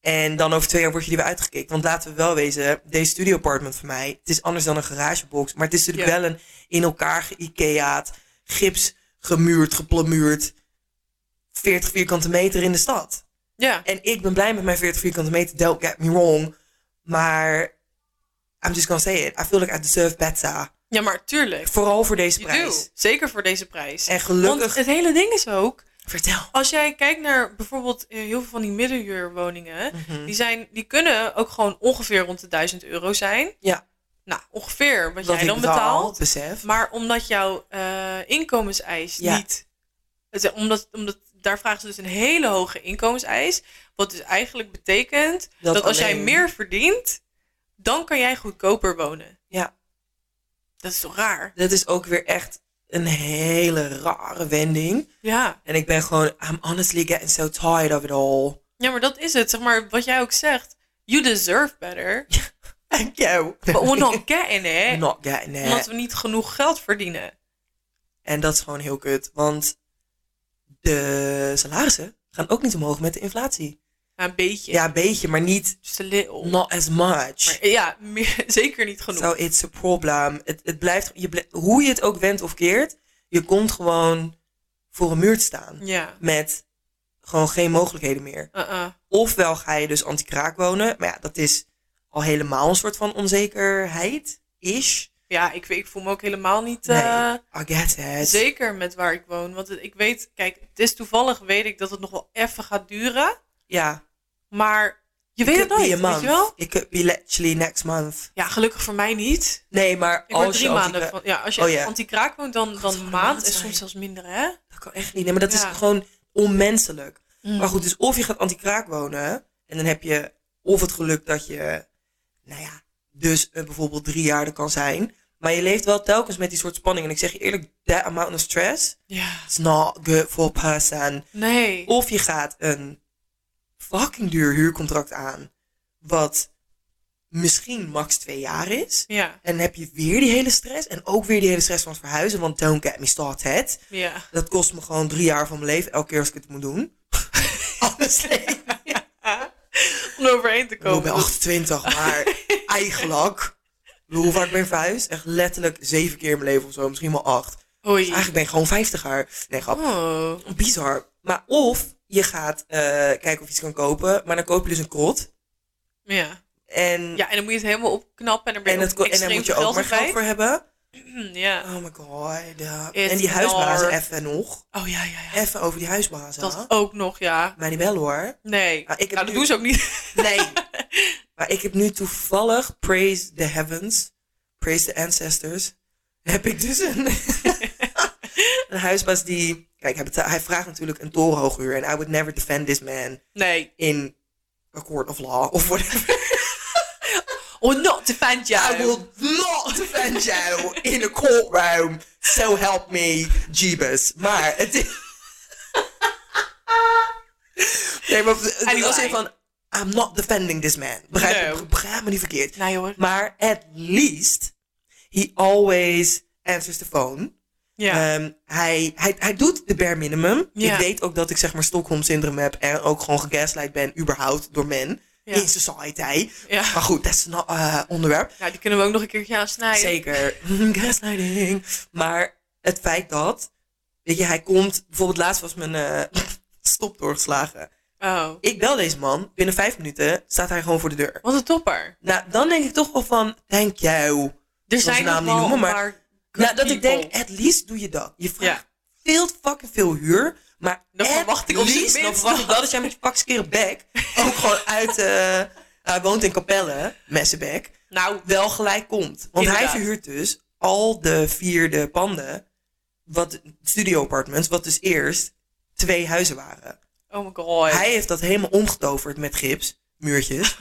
Speaker 2: En dan over twee jaar word je er weer uitgekikt. Want laten we wel wezen, deze studio apartment van mij, het is anders dan een garagebox. Maar het is natuurlijk
Speaker 1: Ja.
Speaker 2: wel een in elkaar geïkeaat, gips gemuurd, geplamuurd, 40 vierkante meter in de stad.
Speaker 1: Ja,
Speaker 2: En ik ben blij met mijn 40 vierkante meter, don't get me wrong. Maar I'm just gonna say it, I feel like I deserve better.
Speaker 1: ja maar tuurlijk.
Speaker 2: Vooral voor deze
Speaker 1: Je
Speaker 2: prijs.
Speaker 1: doet. Zeker voor deze prijs.
Speaker 2: En gelukkig,
Speaker 1: Want het hele ding is ook,
Speaker 2: vertel.
Speaker 1: als jij kijkt naar bijvoorbeeld eh, heel veel van die middenhuurwoningen,
Speaker 2: Mhm.
Speaker 1: die, zijn, die kunnen ook gewoon ongeveer rond de 1000 euro zijn.
Speaker 2: Ja.
Speaker 1: Nou, ongeveer wat
Speaker 2: Dat
Speaker 1: jij
Speaker 2: ik
Speaker 1: dan
Speaker 2: betaal,
Speaker 1: betaalt.
Speaker 2: Besef.
Speaker 1: Maar omdat jouw eh, inkomenseis
Speaker 2: Ja.
Speaker 1: niet. Het, omdat, omdat, daar vragen ze dus een hele hoge inkomenseis. Wat dus eigenlijk betekent dat,
Speaker 2: Dat
Speaker 1: als jij
Speaker 2: alleen-
Speaker 1: meer verdient, dan kan jij goedkoper wonen.
Speaker 2: Ja.
Speaker 1: Dat is toch raar?
Speaker 2: Dat is ook weer echt een hele rare wending.
Speaker 1: Ja.
Speaker 2: En ik ben gewoon, I'm honestly getting so tired of it all.
Speaker 1: Ja, maar dat is het. Zeg maar wat jij ook zegt. You deserve better.
Speaker 2: Thank you.
Speaker 1: But we're not getting it.
Speaker 2: Not getting it.
Speaker 1: Omdat we niet genoeg geld verdienen.
Speaker 2: En dat is gewoon heel kut. Want de salarissen gaan ook niet omhoog met de inflatie.
Speaker 1: Ja, een beetje.
Speaker 2: Ja, een beetje, maar niet
Speaker 1: Just a little.
Speaker 2: not as much.
Speaker 1: Maar ja, meer- zeker niet genoeg.
Speaker 2: So it's a problem. Het, het blijft, je bl- hoe je het ook wendt of keert, je komt gewoon voor een muur te staan.
Speaker 1: Ja.
Speaker 2: Met gewoon geen mogelijkheden meer.
Speaker 1: Uh-uh.
Speaker 2: Ofwel ga je dus anti-kraak wonen. Maar ja, dat is al helemaal een soort van onzekerheid. Ish.
Speaker 1: Ja, ik, ik voel me ook helemaal niet...
Speaker 2: Nee,
Speaker 1: eh,
Speaker 2: I get it.
Speaker 1: Zeker met waar ik woon. Want het- ik weet, kijk, het is toevallig weet ik dat het nog wel even gaat duren.
Speaker 2: Ja.
Speaker 1: Maar je weet het
Speaker 2: Could be
Speaker 1: nooit,
Speaker 2: a month.
Speaker 1: weet je wel?
Speaker 2: It could be literally next month.
Speaker 1: Ja, gelukkig voor mij niet.
Speaker 2: Nee, maar
Speaker 1: Ik word
Speaker 2: als
Speaker 1: drie
Speaker 2: je
Speaker 1: maanden
Speaker 2: anti-kraak-
Speaker 1: van. Ja, als je
Speaker 2: Oh ja.
Speaker 1: anti-kraak woont, dan, dan
Speaker 2: zou
Speaker 1: een
Speaker 2: een
Speaker 1: maand.
Speaker 2: maand
Speaker 1: En
Speaker 2: zijn.
Speaker 1: soms zelfs minder, hè?
Speaker 2: Dat kan echt niet. Nee, maar dat
Speaker 1: Ja.
Speaker 2: is gewoon onmenselijk.
Speaker 1: Mm.
Speaker 2: Maar goed, dus of je gaat anti-kraak wonen. En dan heb je of het geluk dat je, nou ja, dus eh, bijvoorbeeld drie jaar er kan zijn. Maar je leeft wel telkens met die soort spanning. En ik zeg je eerlijk, that amount of stress
Speaker 1: Ja.
Speaker 2: is not good for a person.
Speaker 1: Nee.
Speaker 2: Of je gaat een fucking duur huurcontract aan, wat misschien max twee jaar is.
Speaker 1: Ja,
Speaker 2: En dan heb je weer die hele stress en ook weer die hele stress van het verhuizen, want don't get me started.
Speaker 1: ja.
Speaker 2: Dat kost me gewoon drie jaar van mijn leven, elke keer als ik het moet doen. Honestly.
Speaker 1: Om er overheen te
Speaker 2: Ik bedoel,
Speaker 1: komen.
Speaker 2: ik ben 28, maar eigenlijk, ik bedoel, hoe vaak ben ik verhuisd? Echt letterlijk zeven keer in mijn leven of zo, misschien wel acht.
Speaker 1: Oei.
Speaker 2: Eigenlijk ben ik gewoon vijftiger. Nee, grap.
Speaker 1: Oh.
Speaker 2: Bizar. Maar of je gaat eh, kijken of je iets kan kopen, maar dan koop je dus een krot.
Speaker 1: Ja.
Speaker 2: En,
Speaker 1: ja, en dan moet je het helemaal opknappen. En dan ben
Speaker 2: en,
Speaker 1: je ook
Speaker 2: het, ko- en daar
Speaker 1: extreem
Speaker 2: moet je
Speaker 1: veel
Speaker 2: ook maar
Speaker 1: geld
Speaker 2: geld
Speaker 1: erbij.
Speaker 2: voor hebben.
Speaker 1: Ja.
Speaker 2: Oh my god. ja.
Speaker 1: It's
Speaker 2: En die huisbazen,
Speaker 1: dark.
Speaker 2: even nog.
Speaker 1: Oh ja, ja, ja.
Speaker 2: Even over die huisbazen.
Speaker 1: Dat ook nog, ja.
Speaker 2: Maar niet wel hoor.
Speaker 1: Nee.
Speaker 2: Ah, ik heb
Speaker 1: nou, dat
Speaker 2: nu-
Speaker 1: doen ze ook niet.
Speaker 2: Nee. maar ik heb nu toevallig, praise the heavens, praise the ancestors, heb ik dus een, een huisbaas die... Kijk, hij, betaalt- hij vraagt natuurlijk een torenhoog huur. En I would never defend this man
Speaker 1: Nee.
Speaker 2: in a court of law of whatever.
Speaker 1: Or Oh, not to find you.
Speaker 2: I will not defend you in a courtroom. So help me, Jeebus. Maar het is, Nee, maar het was in
Speaker 1: lying.
Speaker 2: van, I'm not defending this man. Begrijp,
Speaker 1: No.
Speaker 2: begrijp me niet verkeerd.
Speaker 1: Nee hoor.
Speaker 2: Maar at least, he always answers the phone.
Speaker 1: Ja.
Speaker 2: Ehm, hij, hij, hij doet de bare minimum.
Speaker 1: Ja.
Speaker 2: Ik weet ook dat ik zeg maar Stockholm syndroom heb en ook gewoon gegaslight ben, überhaupt door men
Speaker 1: Ja.
Speaker 2: in society.
Speaker 1: Ja.
Speaker 2: Maar goed, dat is een eh, onderwerp.
Speaker 1: Nou, die kunnen we ook nog een keertje aansnijden.
Speaker 2: Zeker. Mm, Gaslighting. Maar het feit dat, weet je, hij komt, bijvoorbeeld laatst was mijn eh, stop doorgeslagen.
Speaker 1: Oh,
Speaker 2: Ik bel deze man, binnen vijf minuten staat hij gewoon voor de deur.
Speaker 1: wat een topper.
Speaker 2: Nou, dan denk ik toch wel van, thank you.
Speaker 1: Er
Speaker 2: Ik zal
Speaker 1: zijn
Speaker 2: zijn
Speaker 1: nog
Speaker 2: naam
Speaker 1: wel
Speaker 2: niet noemen,
Speaker 1: een
Speaker 2: maar-
Speaker 1: paar good
Speaker 2: Nou, dat ik
Speaker 1: people.
Speaker 2: denk, at least doe je dat. Je vraagt
Speaker 1: Ja.
Speaker 2: veel te fucking veel huur. Maar
Speaker 1: Dan
Speaker 2: at
Speaker 1: verwacht ik op zijn
Speaker 2: least, dan
Speaker 1: minst
Speaker 2: verwacht ik
Speaker 1: dat.
Speaker 2: wel dat jij met je pakskeren bek ook gewoon uit... eh, hij woont in Capelle, Messenbeck.
Speaker 1: Nou,
Speaker 2: Wel gelijk komt. Want hij
Speaker 1: Inderdaad.
Speaker 2: verhuurt dus al de vierde panden, wat studio apartments, wat dus eerst twee huizen waren.
Speaker 1: oh my god.
Speaker 2: Hij heeft dat helemaal omgetoverd met gips, muurtjes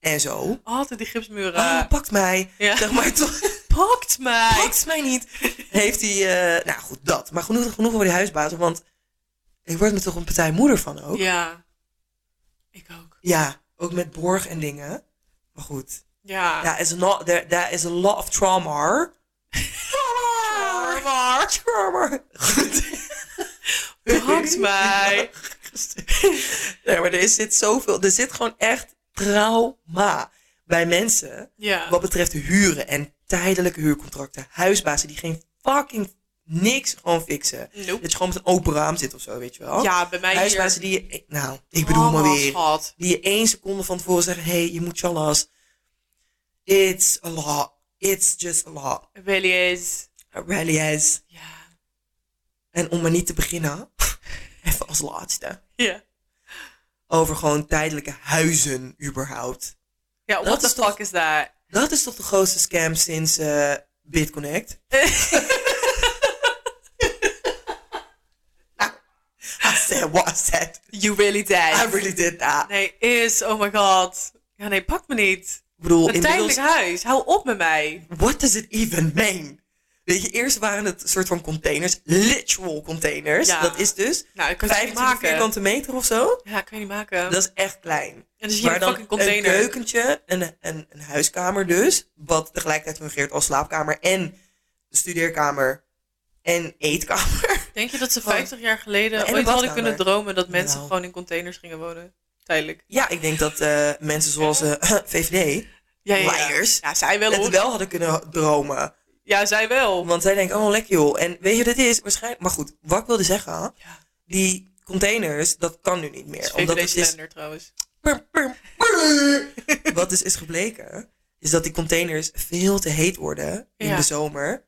Speaker 2: en zo.
Speaker 1: Altijd die gipsmuren.
Speaker 2: Oh, pakt mij.
Speaker 1: Ja.
Speaker 2: Zeg maar toch.
Speaker 1: Pakt mij.
Speaker 2: Pakt mij niet. Heeft hij, eh, nou goed, dat. Maar genoeg, genoeg over die huisbazen, want ik word me toch een partij moeder van ook. Ja.
Speaker 1: Ja. Ik ook.
Speaker 2: ook met borg en dingen. Maar goed,
Speaker 1: Ja.
Speaker 2: daar is, not, there, there is a lot of trauma. Trauma. Trauma. Goed.
Speaker 1: Pakt mij.
Speaker 2: Nee, maar er is- zit zoveel, er zit gewoon echt trauma bij mensen.
Speaker 1: Ja.
Speaker 2: Wat betreft huren en tijdelijke huurcontracten. Huisbazen die geen fucking niks gewoon fixen.
Speaker 1: Nope.
Speaker 2: Dat je gewoon met een open raam zit of zo, weet je wel.
Speaker 1: Ja, bij mij
Speaker 2: Huisbazen
Speaker 1: hier.
Speaker 2: die je... Nou, ik bedoel maar
Speaker 1: Mama,
Speaker 2: weer.
Speaker 1: schat.
Speaker 2: Die je één seconde van tevoren zeggen... Hé, hey, je moet jallas. It's a lot. It's just a lot.
Speaker 1: It Really is.
Speaker 2: It really is.
Speaker 1: Ja.
Speaker 2: En om maar niet te beginnen... Even als laatste.
Speaker 1: Ja.
Speaker 2: Over gewoon tijdelijke huizen überhaupt.
Speaker 1: Ja,
Speaker 2: Dat
Speaker 1: what the
Speaker 2: is toch-
Speaker 1: fuck is dat?
Speaker 2: Dat is toch de grootste scam sinds eh, BitConnect? Nou, I said what I said.
Speaker 1: You really dead.
Speaker 2: I really did that.
Speaker 1: Nee, is. Oh my god. Ja, nee, pak me niet.
Speaker 2: Ik bedoel,
Speaker 1: Een tijdelijk
Speaker 2: inmiddels...
Speaker 1: huis. Hou op met mij.
Speaker 2: What does it even mean? Weet je, eerst waren het soort van containers. Literal containers.
Speaker 1: Ja.
Speaker 2: Dat is dus
Speaker 1: Nou, ik kan het niet
Speaker 2: 25
Speaker 1: maken.
Speaker 2: vierkante meter of zo.
Speaker 1: Ja, ik kan je niet maken.
Speaker 2: Dat is echt klein.
Speaker 1: en dus hier
Speaker 2: Maar
Speaker 1: een
Speaker 2: dan
Speaker 1: fucking container.
Speaker 2: een keukentje, een, een, een huiskamer dus. Wat tegelijkertijd fungeert als slaapkamer en studeerkamer en eetkamer.
Speaker 1: Denk je dat ze
Speaker 2: Gewoon.
Speaker 1: 50 jaar geleden
Speaker 2: En een
Speaker 1: ooit hadden
Speaker 2: badkamer.
Speaker 1: kunnen dromen dat mensen
Speaker 2: Nou.
Speaker 1: gewoon in containers gingen wonen? Tijdelijk.
Speaker 2: Ja, ik denk dat eh, mensen zoals eh, VVD
Speaker 1: Ja,
Speaker 2: Liars.
Speaker 1: Ja, zij wel
Speaker 2: het
Speaker 1: hoor.
Speaker 2: wel hadden kunnen dromen.
Speaker 1: Ja, zij wel.
Speaker 2: Want zij denken, oh lekker joh. En weet je wat het is? Waarschijnlijk, maar goed, wat ik wilde zeggen.
Speaker 1: Ja.
Speaker 2: Die containers, dat kan nu niet meer.
Speaker 1: Dat is
Speaker 2: Omdat het is
Speaker 1: VVD-slender trouwens.
Speaker 2: Wat dus is gebleken, is dat die containers veel te heet worden in
Speaker 1: Ja.
Speaker 2: de zomer.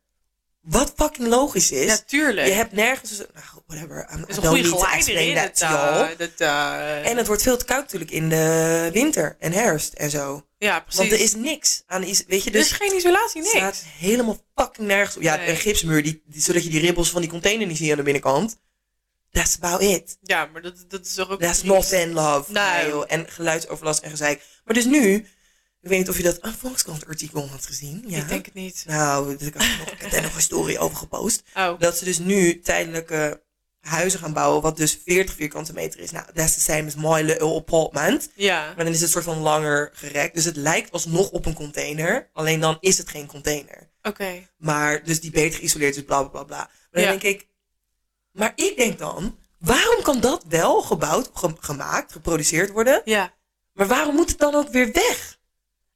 Speaker 2: Wat fucking logisch is.
Speaker 1: Natuurlijk.
Speaker 2: je hebt nergens... Nou, whatever. I'm,
Speaker 1: er is
Speaker 2: I
Speaker 1: een goede
Speaker 2: don't need to
Speaker 1: geleider
Speaker 2: explain
Speaker 1: in
Speaker 2: that
Speaker 1: het.
Speaker 2: to
Speaker 1: eh,
Speaker 2: y'all.
Speaker 1: dat, eh,
Speaker 2: En het wordt veel te koud natuurlijk in de winter en herfst en zo.
Speaker 1: ja,
Speaker 2: Want
Speaker 1: precies.
Speaker 2: er is niks aan... is- Weet je,
Speaker 1: er is
Speaker 2: dus
Speaker 1: geen isolatie,
Speaker 2: het
Speaker 1: niks.
Speaker 2: staat helemaal fucking nergens op. Ja,
Speaker 1: Nee.
Speaker 2: een gipsmuur, die, die- zodat je die ribbels van die container niet ziet aan de binnenkant. That's about it.
Speaker 1: Ja, maar dat, dat is toch ook...
Speaker 2: That's not in love.
Speaker 1: Nee.
Speaker 2: Nee, joh. En geluidsoverlast en gezeik. Maar dus nu, ik weet niet of je dat een Volkskrant artikel had gezien. Ja.
Speaker 1: Ik denk het niet.
Speaker 2: Nou, dat- ik, had nog, ik heb daar nog een story over gepost.
Speaker 1: Oh,
Speaker 2: Dat ze dus nu tijdelijke huizen gaan bouwen, wat dus 40 vierkante meter is. Nou, that's the same as my little apartment.
Speaker 1: ja.
Speaker 2: Maar dan is het soort van langer gerekt. Dus het lijkt alsnog op een container. Alleen dan is het geen container.
Speaker 1: Oké.
Speaker 2: Maar dus die beter geïsoleerd is, bla bla bla bla. Maar dan
Speaker 1: Ja.
Speaker 2: denk ik, maar ik denk dan, waarom kan dat wel gebouwd, ge- gemaakt, geproduceerd worden?
Speaker 1: Ja.
Speaker 2: Maar waarom moet het dan ook weer weg?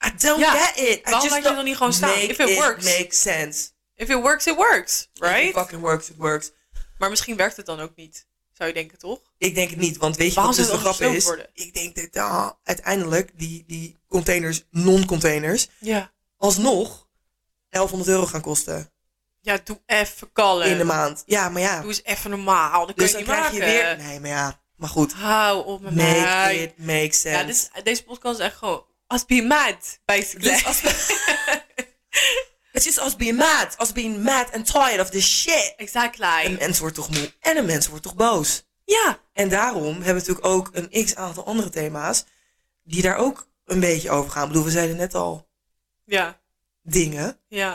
Speaker 2: I don't
Speaker 1: Ja,
Speaker 2: get it. I
Speaker 1: waarom laat je het
Speaker 2: don't-
Speaker 1: dan niet gewoon staan?
Speaker 2: Make
Speaker 1: If it works.
Speaker 2: makes sense.
Speaker 1: If it works, it works.
Speaker 2: If it
Speaker 1: Right?
Speaker 2: fucking works, it works.
Speaker 1: Maar misschien werkt het dan ook niet. Zou je denken, toch?
Speaker 2: Ik denk het niet, want weet je
Speaker 1: Waarom
Speaker 2: wat dus
Speaker 1: zou
Speaker 2: de
Speaker 1: het
Speaker 2: grap
Speaker 1: anders
Speaker 2: is?
Speaker 1: gesloten
Speaker 2: Ik denk dat ah, uiteindelijk die, die containers, non-containers,
Speaker 1: Ja.
Speaker 2: alsnog 1100 euro gaan kosten
Speaker 1: Ja, doe even kalm.
Speaker 2: in de maand. Ja, maar ja.
Speaker 1: Doe eens even normaal. Dan kun
Speaker 2: Dus
Speaker 1: je
Speaker 2: dan
Speaker 1: niet
Speaker 2: krijg
Speaker 1: maken.
Speaker 2: je weer... Nee, maar ja. Maar goed.
Speaker 1: Hou op met
Speaker 2: Make
Speaker 1: mij.
Speaker 2: it make sense.
Speaker 1: Ja, dit is- deze podcast is echt gewoon... As be mad, basically.
Speaker 2: Dus als- Het is als being mad. Als being mad and tired of this shit. Een
Speaker 1: exactly.
Speaker 2: mens wordt toch moe en een mens wordt toch boos.
Speaker 1: Ja.
Speaker 2: En daarom hebben we natuurlijk ook een x aantal andere thema's die daar ook een beetje over gaan. Ik bedoel, we zeiden net al
Speaker 1: Ja.
Speaker 2: dingen.
Speaker 1: Ja.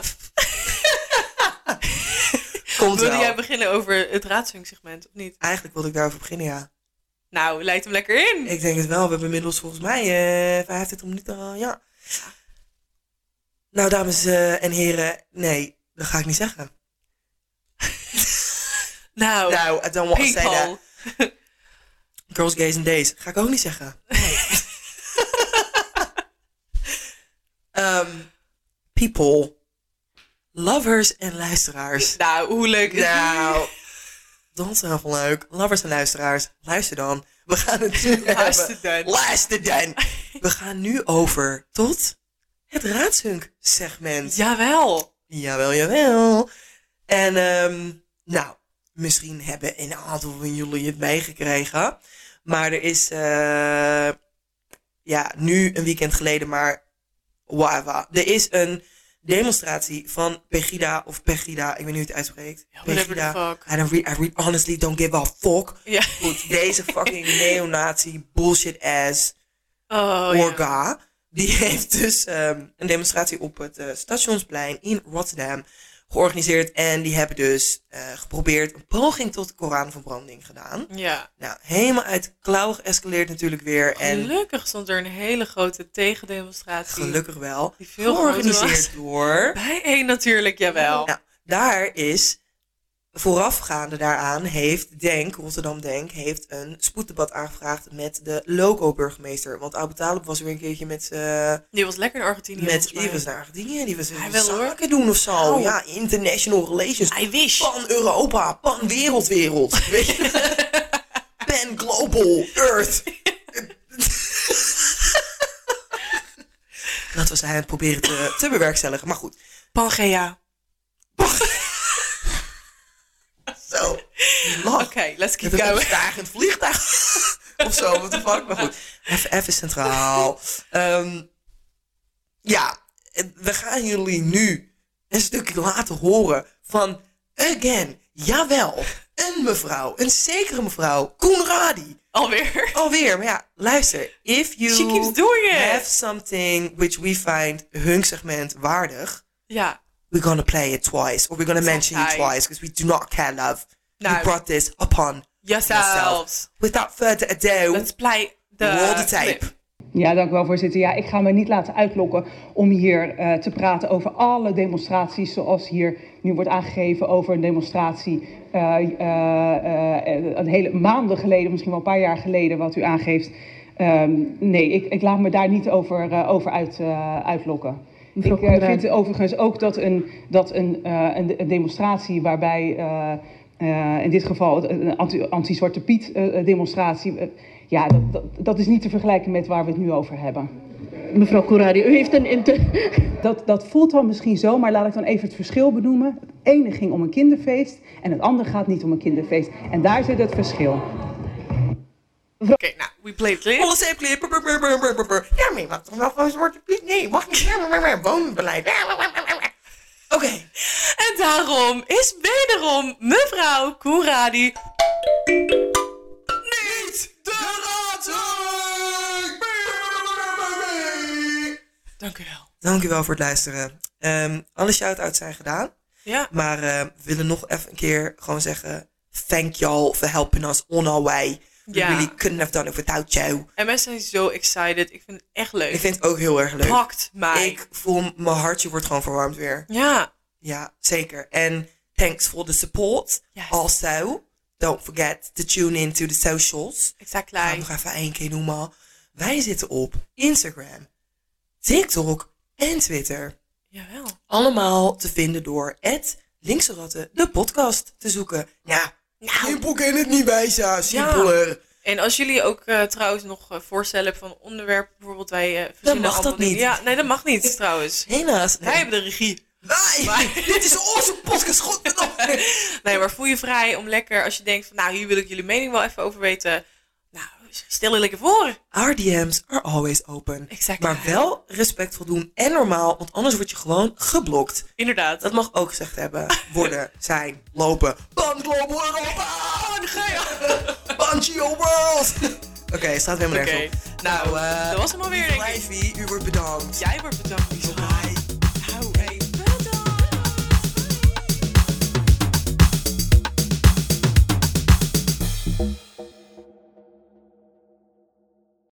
Speaker 2: Komt
Speaker 1: Wilde
Speaker 2: wel.
Speaker 1: jij beginnen over het raadshunksegment, of niet?
Speaker 2: Eigenlijk wilde ik daarover beginnen, ja.
Speaker 1: Nou, leid hem lekker in.
Speaker 2: Ik denk het wel. We hebben inmiddels volgens mij eh 25 minuten al, ja. Nou, dames eh, en heren, nee, dat ga ik niet zeggen.
Speaker 1: nou,
Speaker 2: Nou, I don't want to say that.
Speaker 1: people.
Speaker 2: Girls, gays and days. Ga ik ook niet zeggen. Ehm, people, lovers en luisteraars.
Speaker 1: Nou, hoe leuk is die?
Speaker 2: Nou, dat is wel leuk. Lovers en luisteraars, luister dan. We gaan het nu
Speaker 1: Luister
Speaker 2: hebben.
Speaker 1: dan.
Speaker 2: Luister dan. We gaan nu over tot het raadshunk-segment.
Speaker 1: Jawel.
Speaker 2: Jawel, jawel. En ehm, nou, misschien hebben een aantal van jullie het meegekregen. Maar er is, eh, ja, nu een weekend geleden, maar wawa. Er is een demonstratie van Pegida of Pegida, ik weet niet hoe je het uitspreekt.
Speaker 1: whatever the fuck.
Speaker 2: I, don't re- I re- honestly don't give a fuck.
Speaker 1: Ja.
Speaker 2: Goed, deze fucking neonazi bullshit ass
Speaker 1: Oh, ja.
Speaker 2: Orga. Die heeft dus ehm, een demonstratie op het eh, stationsplein in Rotterdam georganiseerd. En die hebben dus eh, geprobeerd een poging tot Koranverbranding gedaan.
Speaker 1: Ja.
Speaker 2: Nou, helemaal uit de klauw geëscaleerd natuurlijk weer. En
Speaker 1: Gelukkig stond er een hele grote tegendemonstratie.
Speaker 2: gelukkig wel.
Speaker 1: Die veel
Speaker 2: georganiseerd
Speaker 1: groter
Speaker 2: door.
Speaker 1: Bij één natuurlijk, jawel.
Speaker 2: Nou, daar is. Voorafgaande daaraan heeft Denk, Rotterdam Denk, heeft een spoeddebat aangevraagd met de loco-burgemeester. Want Abu Talib was weer een keertje met eh,
Speaker 1: Die was lekker in Argentinië.
Speaker 2: Met
Speaker 1: volgens mij.
Speaker 2: Iris naar Argentinië. Die was
Speaker 1: Hij
Speaker 2: even
Speaker 1: wil,
Speaker 2: zaken doen of zo.
Speaker 1: Nou.
Speaker 2: Ja, international relations.
Speaker 1: I wish.
Speaker 2: Pan Europa, pan wereldwereld. Weet je? pan global, earth. Dat was hij aan het proberen te, te bewerkstelligen. Maar goed,
Speaker 1: Pangea.
Speaker 2: zo.
Speaker 1: Oké,
Speaker 2: Lach.
Speaker 1: let's
Speaker 2: Ik
Speaker 1: keep
Speaker 2: heb een
Speaker 1: going.
Speaker 2: stagend vliegtuig. of zo, wat de fuck. Maar goed, even, even centraal. Ehm, ja, we gaan jullie nu een stukje laten horen van... Again, jawel, een mevrouw, een zekere mevrouw, Koenradi.
Speaker 1: Alweer.
Speaker 2: Alweer, maar ja, luister. If you
Speaker 1: She keeps doing it.
Speaker 2: have something which we find hun segment waardig...
Speaker 1: Ja.
Speaker 2: We're gonna play it twice, or we're gonna mention you
Speaker 1: Sometimes.
Speaker 2: twice, because we do not care, love.
Speaker 1: Nou.
Speaker 2: You brought this upon
Speaker 1: Yourselves.
Speaker 2: Without further ado,
Speaker 1: Let's uh, play the...
Speaker 2: roll the tape.
Speaker 1: clip.
Speaker 3: Ja, dank u wel, voorzitter. Ja, ik ga me niet laten uitlokken om hier eh, te praten over alle demonstraties zoals hier nu wordt aangegeven over een demonstratie eh, eh, eh, een hele maanden geleden, misschien wel een paar jaar geleden, wat u aangeeft. Ehm, nee, ik, ik laat me daar niet over, eh, over uit, eh, uitlokken. Ik eh, vind overigens ook dat een, dat een, eh, een, een demonstratie waarbij, eh, eh, in dit geval een anti- anti-Zwarte Piet eh, demonstratie, eh, ja, dat, dat, dat is niet te vergelijken met waar we het nu over hebben.
Speaker 4: Mevrouw Corradi, u heeft een inter...
Speaker 3: Dat, dat voelt dan misschien zo, maar laat ik dan even het verschil benoemen. Het ene ging om een kinderfeest en het andere gaat niet om een kinderfeest. En daar zit het verschil.
Speaker 1: Oké, nou, we play the clip.
Speaker 2: Volle zeepclip. brr, brr, brr, brr, brr, brr, brr. Ja, maar je mag toch wel gewoon zwarte piet? Nee, mag niet. Brr, brr, brr, Woonbeleid. Brr, brr, brr, brr. Oké.
Speaker 1: En daarom is wederom mevrouw Koenradi...
Speaker 2: Niet de raadzaak!
Speaker 1: Dank u wel.
Speaker 2: Dank u wel voor het luisteren. Ehm, alle shout-outs zijn gedaan.
Speaker 1: Ja.
Speaker 2: Maar eh, we willen nog even een keer gewoon zeggen... Thank y'all for helping us on our way. We
Speaker 1: Ja.
Speaker 2: really couldn't have done it without you.
Speaker 1: En mensen zijn zo excited. Ik vind het echt leuk.
Speaker 2: Ik vind het ook heel erg leuk.
Speaker 1: Pakt mij.
Speaker 2: Ik voel mijn hartje wordt gewoon verwarmd weer.
Speaker 1: Ja.
Speaker 2: Ja, zeker. En thanks for the support.
Speaker 1: Yes.
Speaker 2: Also, don't forget to tune in to the socials.
Speaker 1: Exactly.
Speaker 2: Ga ik nog even één keer noemen. Wij zitten op Instagram, TikTok en Twitter.
Speaker 1: Jawel.
Speaker 2: Allemaal te vinden door het Linkse Ratten, de podcast te zoeken. Nou, simpel kan het niet bij, Sa. Simpeler.
Speaker 1: En als jullie ook eh, trouwens nog eh, voorstellen hebben van onderwerpen, bijvoorbeeld wij eh verzinnen
Speaker 2: mag dat
Speaker 1: allemaal dingen.
Speaker 2: niet.
Speaker 1: Ja, nee, dat mag niet trouwens.
Speaker 2: Helaas.
Speaker 1: Wij hebben de regie.
Speaker 2: Wij-
Speaker 1: Wij-
Speaker 2: Dit is onze podcast. Godverdomme.
Speaker 1: Nee, maar voel je vrij om lekker, als je denkt van nou, hier wil ik jullie mening wel even over weten. Nou, stel je lekker voor.
Speaker 2: Our DM's are always open.
Speaker 1: Exactly.
Speaker 2: Maar wel respectvol doen en normaal, want anders word je gewoon geblokt.
Speaker 1: Inderdaad.
Speaker 2: Dat mag ook gezegd hebben. Worden, zijn, lopen. Ban Global Europa!
Speaker 1: Oh,
Speaker 2: Bungee World! Oké, staat helemaal
Speaker 1: Oké.
Speaker 2: nergens op. Nou, eh
Speaker 1: dat was hem alweer, denk ik.
Speaker 2: Ivy, u wordt bedankt.
Speaker 1: Jij wordt bedankt. Lisa.
Speaker 2: Bye.